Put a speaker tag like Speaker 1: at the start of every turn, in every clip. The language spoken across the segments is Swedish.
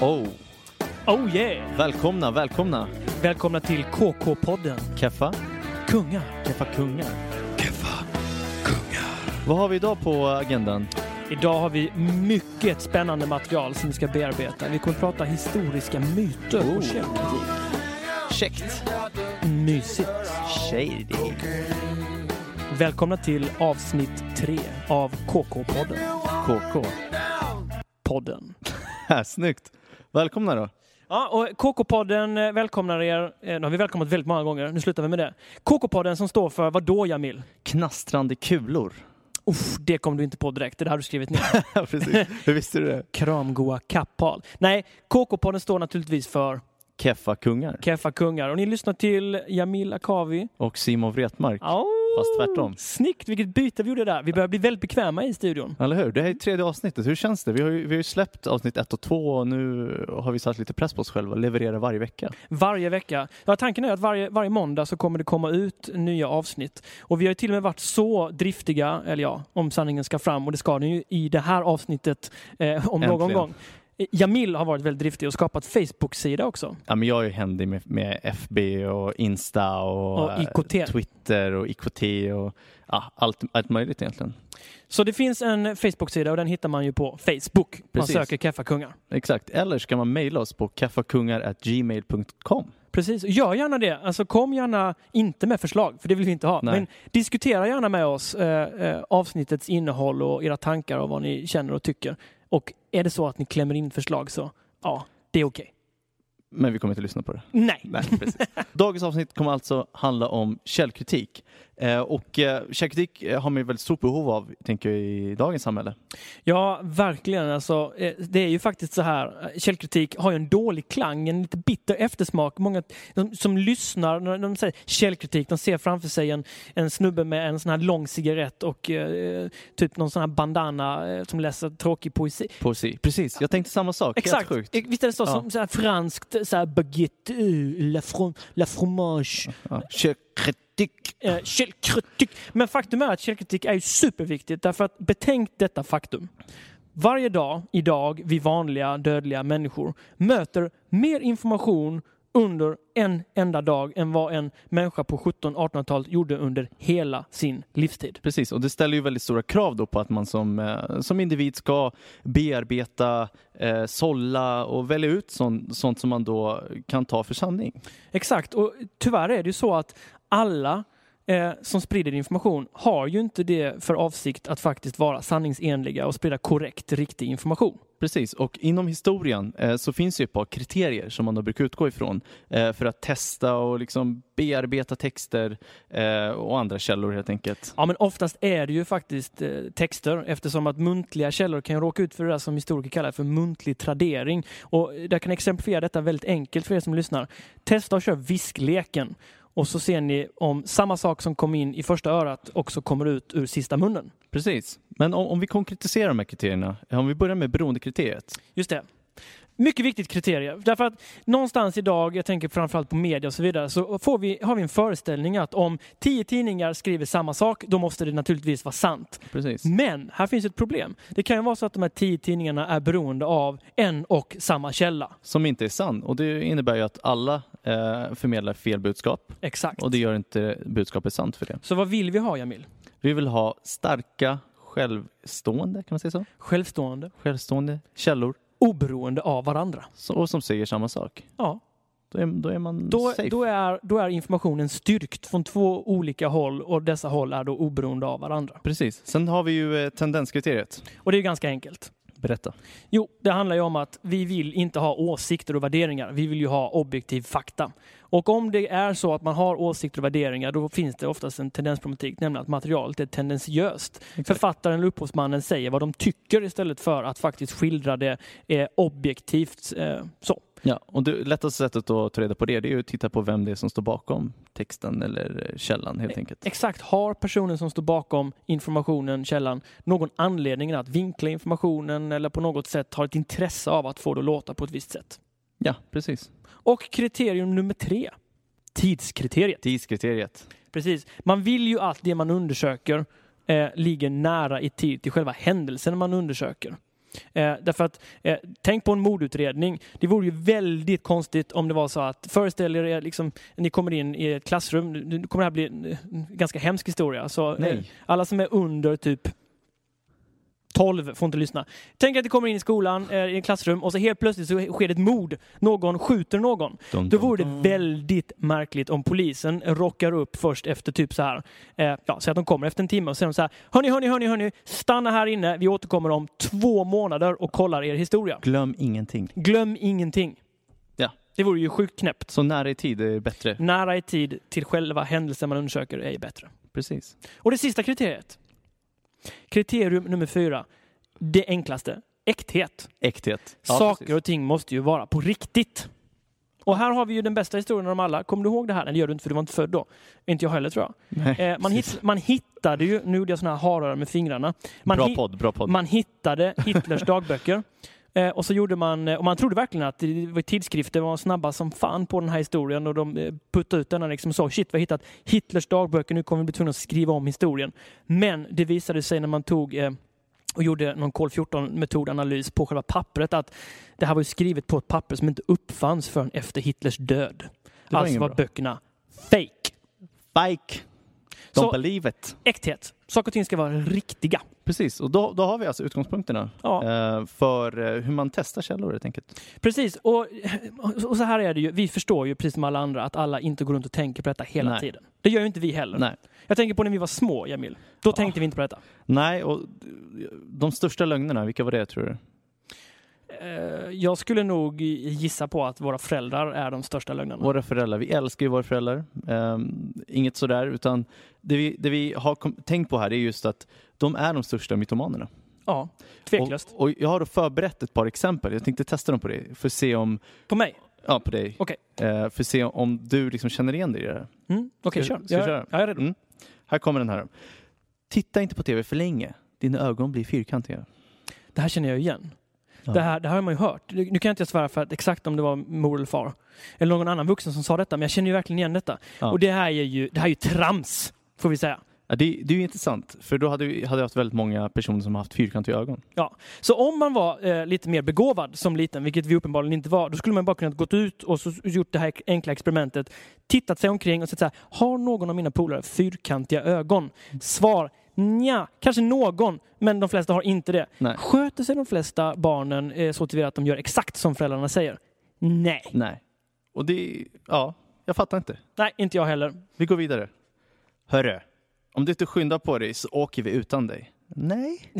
Speaker 1: Oh,
Speaker 2: Oh yeah!
Speaker 1: välkomna, välkomna.
Speaker 2: Välkomna till KK-podden.
Speaker 1: Keffa,
Speaker 2: Kungar.
Speaker 1: Keffa kungar. Keffa kungar. Vad har vi idag på agendan?
Speaker 2: Idag har vi mycket spännande material som vi ska bearbeta. Vi kommer att prata historiska myter
Speaker 1: Oh.
Speaker 2: och källkritik.
Speaker 1: Käckt.
Speaker 2: Mysigt.
Speaker 1: Shady.
Speaker 2: Välkomna till avsnitt tre av KK-podden.
Speaker 1: KK.
Speaker 2: Podden.
Speaker 1: Snyggt. Välkomna då.
Speaker 2: Ja, och KK-podden eh, välkomnar er. Eh, Nu har vi välkomnat väldigt många gånger. Nu slutar vi med det. KK-podden som står för vadå Jamil?
Speaker 1: Knastrande kulor.
Speaker 2: Uff, det kom du inte på direkt. Det hade du skrivit ner.
Speaker 1: Precis. Hur visste du det?
Speaker 2: Kramgoa kapphal. Nej, KK-podden står naturligtvis för
Speaker 1: Keffa kungar.
Speaker 2: Keffa Kungar. Och ni lyssnar till Jamil Akavi.
Speaker 1: Och Simon Wretmark.
Speaker 2: Oh,
Speaker 1: Fast tvärtom.
Speaker 2: Snyggt, vilket byte vi gjorde där. Vi börjar bli väldigt bekväma i studion.
Speaker 1: Eller hur? Det här är tredje avsnittet. Hur känns det? Vi har ju, vi har ju släppt avsnitt ett och två och nu har vi satt lite press på oss själva. Leverera varje vecka.
Speaker 2: Varje vecka. Ja, tanken är att varje, varje måndag så kommer det komma ut nya avsnitt. Och vi har ju till och med varit så driftiga, eller ja, om sanningen ska fram, och det ska den ju i det här avsnittet eh, om någon
Speaker 1: Äntligen.
Speaker 2: gång. Eh, Jamil har varit väldigt driftig och skapat Facebook-sida också.
Speaker 1: Ja, men jag är ju händig med, med FB och Insta och,
Speaker 2: Och IKT.
Speaker 1: eh, Twitter och IKT och ja, allt, allt möjligt egentligen.
Speaker 2: Så det finns en Facebook-sida och den hittar man ju på Facebook. Man
Speaker 1: Precis.
Speaker 2: söker Keffa Kungar.
Speaker 1: Exakt. Eller så kan man mejla oss på kaffekungar.gmail.com.
Speaker 2: Precis, gör gärna det. Alltså kom gärna, inte med förslag, för det vill vi inte ha.
Speaker 1: Nej.
Speaker 2: Men diskutera gärna med oss eh, eh, avsnittets innehåll och era tankar och vad ni känner och tycker. Och är det så att ni klämmer in förslag så, ja, det är okej.
Speaker 1: Men vi kommer inte lyssna på det.
Speaker 2: Nej.
Speaker 1: Nej, precis. Dagens avsnitt kommer alltså handla om källkritik. Eh, och eh, källkritik eh, har man ju väldigt stort behov av, tänker jag, i dagens samhälle.
Speaker 2: Ja, verkligen. Alltså, eh, det är ju faktiskt så här, eh, källkritik har ju en dålig klang, en lite bitter eftersmak. Många de, som lyssnar när de säger källkritik, de ser framför sig en, en snubbe med en sån här lång cigarett och eh, typ någon sån här bandana eh, som läser tråkig poesi.
Speaker 1: Poesi. Precis, jag tänkte samma sak.
Speaker 2: Exakt.
Speaker 1: Helt sjukt.
Speaker 2: Eh, Visst är det så?
Speaker 1: Ja.
Speaker 2: Som så här franskt, så här baguette, uh, la, from, la fromage,
Speaker 1: Ja. Källkritik.
Speaker 2: eh, källkritik. Men faktum är att källkritik är ju superviktigt därför att betänk detta faktum. Varje dag, idag, vi vanliga dödliga människor möter mer information under en enda dag än vad en människa på 1700-1800-talet gjorde under hela sin livstid.
Speaker 1: Precis, och det ställer ju väldigt stora krav då på att man som, eh, som individ ska bearbeta, eh, sålla och välja ut sån, sånt som man då kan ta för sanning.
Speaker 2: Exakt, och tyvärr är det ju så att alla eh, som sprider information har ju inte det för avsikt att faktiskt vara sanningsenliga och sprida korrekt, riktig information.
Speaker 1: Precis, och inom historien eh, så finns ju ett par kriterier som man då brukar utgå ifrån eh, för att testa och liksom bearbeta texter eh, och andra källor helt enkelt.
Speaker 2: Ja, men oftast är det ju faktiskt eh, texter eftersom att muntliga källor kan ju råka ut för det där som historiker kallar för muntlig tradering. Och eh, jag kan exemplifiera detta väldigt enkelt för er som lyssnar. Testa och kör viskleken och så ser ni om samma sak som kom in i första örat också kommer ut ur sista munnen.
Speaker 1: Precis, men om, om vi konkretiserar de här kriterierna, eh, om vi börjar med beroendekriteriet.
Speaker 2: Just det. Mycket viktigt kriterie. Därför att någonstans idag, jag tänker framförallt på media och så vidare, så får vi, har vi en föreställning att om tio tidningar skriver samma sak, då måste det naturligtvis vara sant.
Speaker 1: Precis.
Speaker 2: Men här finns ett problem. Det kan ju vara så att de här tio tidningarna är beroende av en och samma källa.
Speaker 1: Som inte är sann, och det innebär ju att alla eh, förmedlar fel budskap.
Speaker 2: Exakt.
Speaker 1: Och det gör inte budskapet sant för det.
Speaker 2: Så vad vill vi ha, Jamil?
Speaker 1: Vi vill ha starka, självstående, kan man säga så?
Speaker 2: Självstående,
Speaker 1: Självstående källor
Speaker 2: oberoende av varandra.
Speaker 1: så- och som säger samma sak.
Speaker 2: Ja,
Speaker 1: Då är, då är man
Speaker 2: då,
Speaker 1: safe.
Speaker 2: då, är, då är informationen styrkt från två olika håll och dessa håll är då oberoende av varandra.
Speaker 1: Precis. Sen har vi ju eh, tendenskriteriet.
Speaker 2: Och det är ju ganska enkelt.
Speaker 1: Berätta.
Speaker 2: Jo, det handlar ju om att vi vill inte ha åsikter och värderingar. Vi vill ju ha objektiv fakta. Och om det är så att man har åsikter och värderingar, då finns det oftast en tendensproblematik, nämligen att materialet är tendensiöst. Författaren eller upphovsmannen säger vad de tycker istället för att faktiskt skildra det eh, objektivt. Eh, så.
Speaker 1: Ja, och det lättaste sättet att ta reda på det, det är ju att titta på vem det är som står bakom texten eller eh, källan helt enkelt.
Speaker 2: Exakt, har personen som står bakom informationen, källan, någon anledning att vinkla informationen eller på något sätt har ett intresse av att få det att låta på ett visst sätt?
Speaker 1: Ja, precis.
Speaker 2: Och kriterium nummer tre, tidskriteriet.
Speaker 1: Tidskriteriet.
Speaker 2: Precis. Man vill ju att det man undersöker eh, ligger nära i tid till själva händelsen man undersöker. Eh, därför att, eh, tänk på en mordutredning. Det vore ju väldigt konstigt om det var så att, föreställ er, eh, liksom, ni kommer in i ett klassrum, nu nu kommer det här bli en, en ganska hemsk historia. Så, eh,
Speaker 1: Nej.
Speaker 2: alla som är under typ 12 får inte lyssna. Tänk att det kommer in i skolan, eh, i en klassrum och så helt plötsligt så sker det ett mord. Någon skjuter någon.
Speaker 1: Dum,
Speaker 2: Då
Speaker 1: dum,
Speaker 2: vore det
Speaker 1: dum.
Speaker 2: väldigt märkligt om polisen rockar upp först efter typ så här. Eh, ja, så att de kommer efter en timme och säger så här. Hörni, hörni, hörni, hörni, stanna här inne. Vi återkommer om två månader och kollar er historia.
Speaker 1: Glöm ingenting.
Speaker 2: Glöm ingenting.
Speaker 1: Ja.
Speaker 2: Det vore ju sjukt knäppt.
Speaker 1: Så nära i tid är bättre.
Speaker 2: Nära i tid till själva händelsen man undersöker är ju bättre.
Speaker 1: Precis.
Speaker 2: Och det sista kriteriet. Kriterium nummer fyra. Det enklaste. Äkthet.
Speaker 1: Äkthet. Ja,
Speaker 2: Saker
Speaker 1: precis.
Speaker 2: och ting måste ju vara på riktigt. Och här har vi ju den bästa historien av dem alla. Kommer du ihåg det här? Eller gör du inte för du var inte född då. Inte jag heller tror jag.
Speaker 1: Nej,
Speaker 2: Eh, man,
Speaker 1: precis.
Speaker 2: hitt, man hittade ju, nu gjorde jag sådana här harare med fingrarna. Man,
Speaker 1: bra
Speaker 2: hi-
Speaker 1: podd, bra podd.
Speaker 2: man hittade Hitlers dagböcker. Eh, och så gjorde man, och man trodde verkligen att det var tidskrifter var snabba som fan på den här historien och de eh, puttade ut den och liksom sa shit vi har hittat Hitlers dagböcker, nu kommer vi bli tvungna att skriva om historien. Men det visade sig när man tog eh, och gjorde någon kol 14 metodanalys på själva pappret att det här var ju skrivet på ett papper som inte uppfanns förrän efter Hitlers död.
Speaker 1: Det var
Speaker 2: alltså
Speaker 1: ingen
Speaker 2: var
Speaker 1: bra.
Speaker 2: böckerna fake.
Speaker 1: Bike. Don't
Speaker 2: Så-
Speaker 1: believe it.
Speaker 2: Äkthet. Saker och ting ska vara riktiga.
Speaker 1: Precis, och då, då har vi alltså utgångspunkterna
Speaker 2: Ja.
Speaker 1: eh, för eh, hur man testar källor helt enkelt.
Speaker 2: Precis, och, och så här är det ju. Vi förstår ju precis som alla andra att alla inte går runt och tänker på detta hela
Speaker 1: Nej.
Speaker 2: tiden. Det gör ju inte vi heller.
Speaker 1: Nej.
Speaker 2: Jag tänker på när vi var små, Jamil. Då tänkte vi inte på detta.
Speaker 1: Nej, och de största lögnerna, vilka var det tror du?
Speaker 2: Eh, Jag skulle nog gissa på att våra föräldrar är de största lögnarna.
Speaker 1: Våra föräldrar, vi älskar ju våra föräldrar. Ehm, inget sådär, utan det vi, det vi har kom- tänkt på här är just att de är de största mytomanerna.
Speaker 2: Ja, tveklöst.
Speaker 1: Och, och jag har då förberett ett par exempel, jag tänkte testa dem på dig, för att se om,
Speaker 2: På mig?
Speaker 1: ja på dig,
Speaker 2: Okej.
Speaker 1: Eh, för att se om du liksom känner igen dig i det här.
Speaker 2: Mm. Okej,
Speaker 1: Ska-
Speaker 2: kör.
Speaker 1: ska vi
Speaker 2: Jag,
Speaker 1: köra?
Speaker 2: jag är redo.
Speaker 1: Mm. Här kommer den här. Titta inte på TV för länge, dina ögon blir fyrkantiga.
Speaker 2: Det här känner jag igen.
Speaker 1: Ja.
Speaker 2: Det, här, det här har man ju hört. Nu nu kan jag inte svära för att exakt om det var mor eller far eller någon annan vuxen som sa detta, men jag känner ju verkligen igen detta.
Speaker 1: Ja.
Speaker 2: Och det här är ju, det här är ju trams, får vi säga.
Speaker 1: Ja, det, det är ju intressant, för då hade, vi, hade jag haft väldigt många personer som har haft fyrkantiga ögon.
Speaker 2: Ja. Så om man var eh, lite mer begåvad som liten, vilket vi uppenbarligen inte var, då skulle man bara kunnat gått ut och så gjort det här enkla experimentet, tittat sig omkring och sett så här, har någon av mina polare fyrkantiga ögon?
Speaker 1: Mm.
Speaker 2: Svar, nja, kanske någon, men de flesta har inte det.
Speaker 1: Nej.
Speaker 2: Sköter sig de flesta barnen eh, så tillvida att de gör exakt som föräldrarna säger? Nej.
Speaker 1: Nej. Och det, ja, jag fattar inte.
Speaker 2: Nej, inte jag heller.
Speaker 1: Vi går vidare. Hörru, om du inte skyndar på dig så åker vi utan dig. Nej,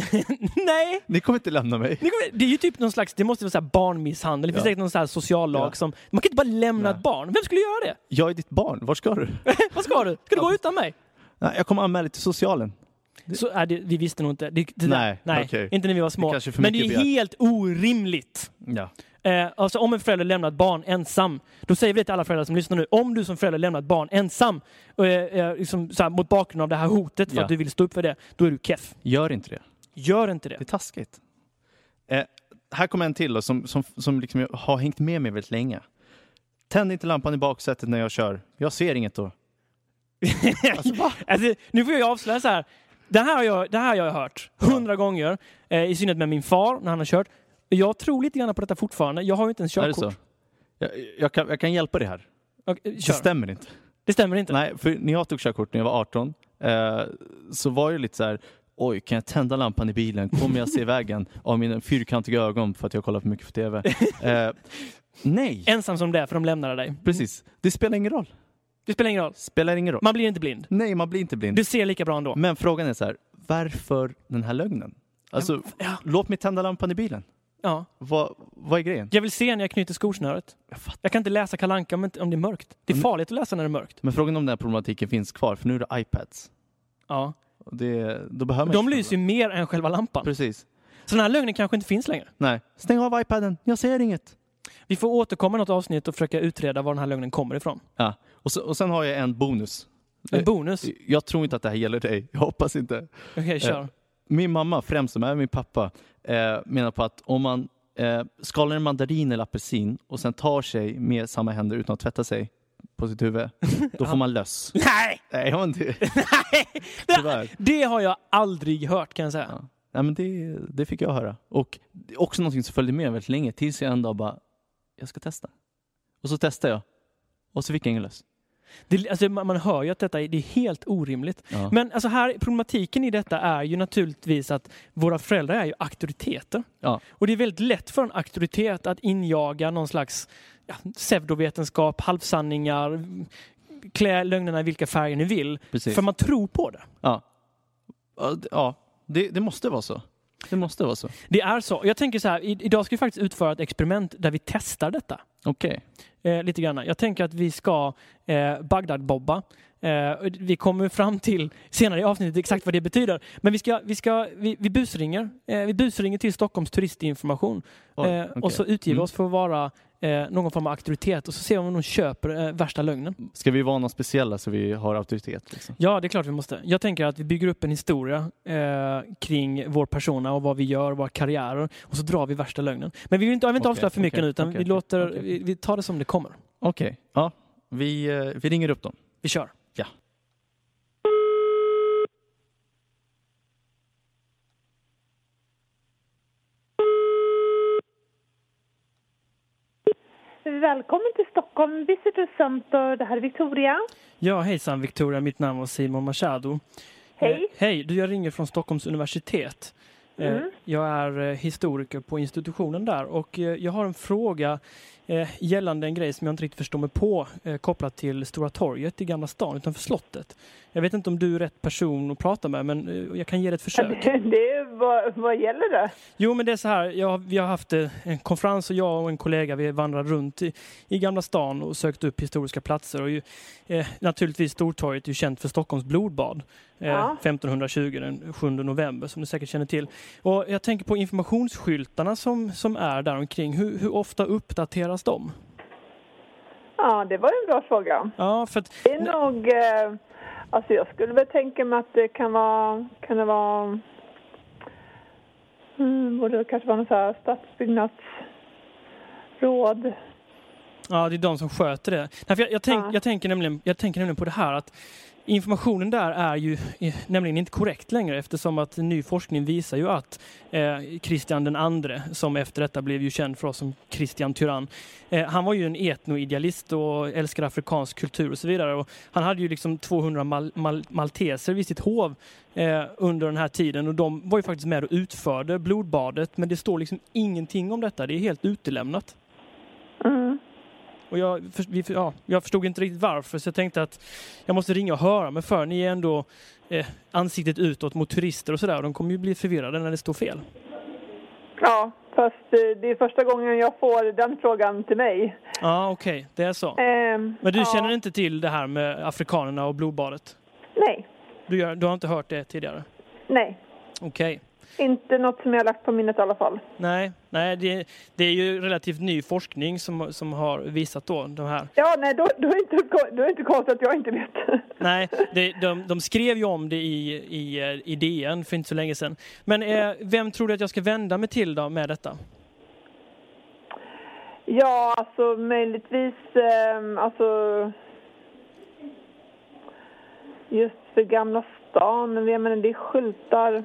Speaker 2: Nej!
Speaker 1: ni kommer inte lämna mig.
Speaker 2: Det kommer- det är ju typ någon slags, det måste vara så här barnmisshandel, det finns
Speaker 1: Ja.
Speaker 2: säkert någon så här social lag
Speaker 1: Ja.
Speaker 2: som, man kan inte bara lämna
Speaker 1: Nej.
Speaker 2: ett barn. Vem skulle göra det?
Speaker 1: Jag är ditt barn, vart ska du?
Speaker 2: Vad ska du? Ska du gå utan mig?
Speaker 1: Nej, jag kommer anmäla dig till socialen.
Speaker 2: Så, nej, det, vi visste nog inte. Det, det,
Speaker 1: Nej,
Speaker 2: nej
Speaker 1: okej.
Speaker 2: inte när vi var små.
Speaker 1: Det kanske är för
Speaker 2: Men det är
Speaker 1: mycket begärt.
Speaker 2: helt orimligt.
Speaker 1: Ja.
Speaker 2: Eh, alltså om en förälder lämnar ett barn ensam, då säger vi det till alla föräldrar som lyssnar nu. Om du som förälder lämnar ett barn ensam, eh, eh, liksom, så här, mot bakgrund av det här hotet för
Speaker 1: Ja.
Speaker 2: att du vill stå upp för det, då är du keff.
Speaker 1: Gör inte det.
Speaker 2: Gör inte det.
Speaker 1: Det är taskigt. Eh, här kommer en till då, som, som, som liksom jag har hängt med mig väldigt länge. Tänd inte lampan i baksätet när jag kör. Jag ser inget då. Alltså, va?
Speaker 2: Alltså, nu får jag avslöja så här. Det här har jag, det här har jag hört hundra gånger, eh, i synnerhet med min far när han har kört. Jag tror lite grann på detta fortfarande. Jag har ju inte ens
Speaker 1: Är det
Speaker 2: körkort.
Speaker 1: så? Jag, jag, kan, jag kan hjälpa dig här.
Speaker 2: Okej, eh,
Speaker 1: Det
Speaker 2: kör.
Speaker 1: stämmer inte.
Speaker 2: Det stämmer inte.
Speaker 1: Nej, för när jag tog körkort när jag var 18 eh, så var jag lite så här Oj, kan jag tända lampan i bilen? Kommer jag se vägen av mina fyrkantiga ögon för att jag kollar för mycket på TV? Eh, nej,
Speaker 2: Ensam som det är, för de lämnade dig.
Speaker 1: precis. Det spelar ingen roll.
Speaker 2: Det spelar ingen roll.
Speaker 1: Spelar ingen roll.
Speaker 2: Man blir inte blind.
Speaker 1: Nej, man blir inte blind.
Speaker 2: Du ser lika bra ändå.
Speaker 1: Men frågan är så här, varför den här lögnen? Alltså,
Speaker 2: Ja.
Speaker 1: låt mig tända lampan i bilen.
Speaker 2: Ja.
Speaker 1: Vad, vad är grejen?
Speaker 2: Jag vill se när jag knyter skosnöret.
Speaker 1: Jag fattar. Mm.
Speaker 2: Jag kan inte läsa Kalle Anka om inte- om det är mörkt. Det är
Speaker 1: Men-
Speaker 2: farligt att läsa när det är mörkt.
Speaker 1: Men frågan om den här problematiken finns kvar, för nu är det iPads.
Speaker 2: Ja.
Speaker 1: Och det, då behöver man
Speaker 2: De
Speaker 1: inte-
Speaker 2: lyser ju mer än själva lampan.
Speaker 1: Precis.
Speaker 2: Så den här lögnen kanske inte finns längre.
Speaker 1: Nej. Stäng av iPaden, jag ser inget.
Speaker 2: Vi får återkomma i något avsnitt och försöka utreda var den här lögnen kommer ifrån.
Speaker 1: Ja. Och, så, och sen har jag en bonus.
Speaker 2: En
Speaker 1: Eh,
Speaker 2: bonus.
Speaker 1: Jag tror inte att det här gäller dig. Jag hoppas inte.
Speaker 2: Okej, kör.
Speaker 1: Min mamma, främst som är min pappa, eh, menar på att om man eh, skalar en mandarin eller apelsin och sen tar sig med samma händer utan att tvätta sig på sitt huvud, då får man löss.
Speaker 2: Nej!
Speaker 1: Nej, jag har inte.
Speaker 2: Det-
Speaker 1: Tyvärr.
Speaker 2: Det har jag aldrig hört kan jag säga.
Speaker 1: Ja. nej, men det, det fick jag höra. Och det är också någonting som följde med väldigt länge tills jag en dag bara, jag ska testa. Och så testade jag. Och så fick jag ingen löss.
Speaker 2: Det, alltså, man, man hör ju att detta är, det är helt orimligt.
Speaker 1: Ja.
Speaker 2: Men alltså här, problematiken i detta är ju naturligtvis att våra föräldrar är ju auktoriteter.
Speaker 1: Ja.
Speaker 2: Och det är väldigt lätt för en auktoritet att injaga någon slags ja, pseudovetenskap, halvsanningar, klä lögnerna i vilka färger ni vill.
Speaker 1: Precis.
Speaker 2: För man tror på det.
Speaker 1: Ja, d- Ja, det, det måste vara så. Det måste vara så.
Speaker 2: Det är så. Jag tänker så här, i, idag ska vi faktiskt utföra ett experiment där vi testar detta.
Speaker 1: Okej.
Speaker 2: Eh, lite grann. Jag tänker att vi ska eh, Bagdad-bobba. Eh, och vi kommer fram till senare i avsnittet exakt vad det betyder. Men vi, ska, vi, ska, vi, vi busringer. Eh, vi busringer till Stockholms turistinformation.
Speaker 1: Oj,
Speaker 2: eh,
Speaker 1: okej.
Speaker 2: Och så utger vi
Speaker 1: Mm.
Speaker 2: oss för att vara eh, någon form av auktoritet och så ser vi om de köper eh, värsta lögnen.
Speaker 1: Ska vi vara någon speciella så vi har auktoritet? Liksom?
Speaker 2: Ja, det är klart vi måste. Jag tänker att vi bygger upp en historia eh, kring vår persona och vad vi gör, våra karriärer. Och så drar vi värsta lögnen. Men vi vill inte, jag vill inte
Speaker 1: Okej,
Speaker 2: avslöja för mycket
Speaker 1: okej,
Speaker 2: nu, utan
Speaker 1: okej,
Speaker 2: vi,
Speaker 1: okej,
Speaker 2: låter,
Speaker 1: okej.
Speaker 2: vi, vi tar det som det kommer.
Speaker 1: Okej, ja. Vi, eh, vi ringer upp dem.
Speaker 2: Vi kör.
Speaker 1: Ja.
Speaker 3: Välkommen till Stockholm Visitor Center. Det här är Victoria.
Speaker 2: Ja, hejsan Victoria. Mitt namn var Simon Machado.
Speaker 3: Hej.
Speaker 2: Eh, hej, du, jag ringer från Stockholms universitet. Eh,
Speaker 3: Mm.
Speaker 2: Jag är eh, historiker på institutionen där och eh, jag har en fråga eh, gällande en grej som jag inte riktigt förstår mig på eh, kopplat till Stora torget i Gamla stan utanför slottet. Jag vet inte om du är rätt person att prata med men eh, jag kan ge dig ett försök.
Speaker 3: Det är, vad, vad gäller det?
Speaker 2: Jo, men det är så här. Jag, har- vi har haft eh, en konferens och jag och en kollega vi vandrade runt i, i Gamla stan och sökt upp historiska platser. Och ju, eh, naturligtvis Stortorget är ju känt för Stockholms blodbad. Eh,
Speaker 3: Ja.
Speaker 2: 1520 den 7 november som du säkert känner till. Och jag tänker på informationsskyltarna som, som är där omkring. Hur, hur ofta uppdateras de?
Speaker 3: Ja, det var en bra fråga.
Speaker 2: Ja, för att,
Speaker 3: Det är nog... Eh, alltså jag skulle väl tänka mig att det kan vara... Kan det vara... Mm, borde det kanske vara någon så här stadsbyggnadsråd.
Speaker 2: Ja, det är de som sköter det. Nej, för jag, jag, tänk,
Speaker 3: Ja.
Speaker 2: jag, tänker nämligen, jag tänker nämligen på det här att informationen där är ju eh, nämligen inte korrekt längre eftersom att ny forskning visar ju att eh, Kristian den andre, som efter detta blev ju känd för oss som Kristian Tyrann, eh, han var ju en etnoidealist och älskade afrikansk kultur och så vidare. Och han hade ju liksom 200 mal- mal- malteser vid sitt hov eh, under den här tiden och de var ju faktiskt med och utförde blodbadet men det står liksom ingenting om detta. Det är helt utelämnat.
Speaker 3: Mm.
Speaker 2: Och jag, för, vi, ja, jag förstod inte riktigt varför, så jag tänkte att jag måste ringa och höra mig för. Ni är ändå eh, ansiktet utåt mot turister och sådär och de kommer ju bli förvirrade när det står fel.
Speaker 3: Ja, fast eh, det är första gången jag får den frågan till mig.
Speaker 2: Ja, okej, det är så.
Speaker 3: Ehm,
Speaker 2: Men du
Speaker 3: ja.
Speaker 2: känner inte till det här med afrikanerna och blodbadet?
Speaker 3: Nej,
Speaker 2: Du, gör, du har inte hört det tidigare?
Speaker 3: nej.
Speaker 2: Okej.
Speaker 3: Inte något som jag har lagt på minnet i alla fall.
Speaker 2: Nej, nej det, det är ju relativt ny forskning som, som har visat då de här
Speaker 3: Ja, nej, då, då, är det inte, ko- då är det inte konstigt att jag inte vet.
Speaker 2: Nej, det, de, de skrev ju om det i, i, eh, i DN för inte så länge sedan. Men eh, vem tror du att jag ska vända mig till då med detta?
Speaker 3: Ja, alltså möjligtvis, eh, alltså... Just för Gamla stan, men jag menar det är skyltar.